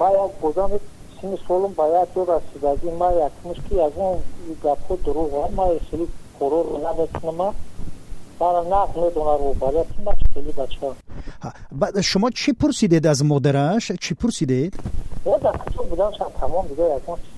Мая годами син солум бая тора сидаги ма якмышки ягон гапо дуруга ма сили корор надатнама برا نقل میدونم رو برای خیلی بچه ها بعد شما چی پرسیدید از مادرش چی پرسیدید یا در کتاب بودم شد تمام دیگه از اون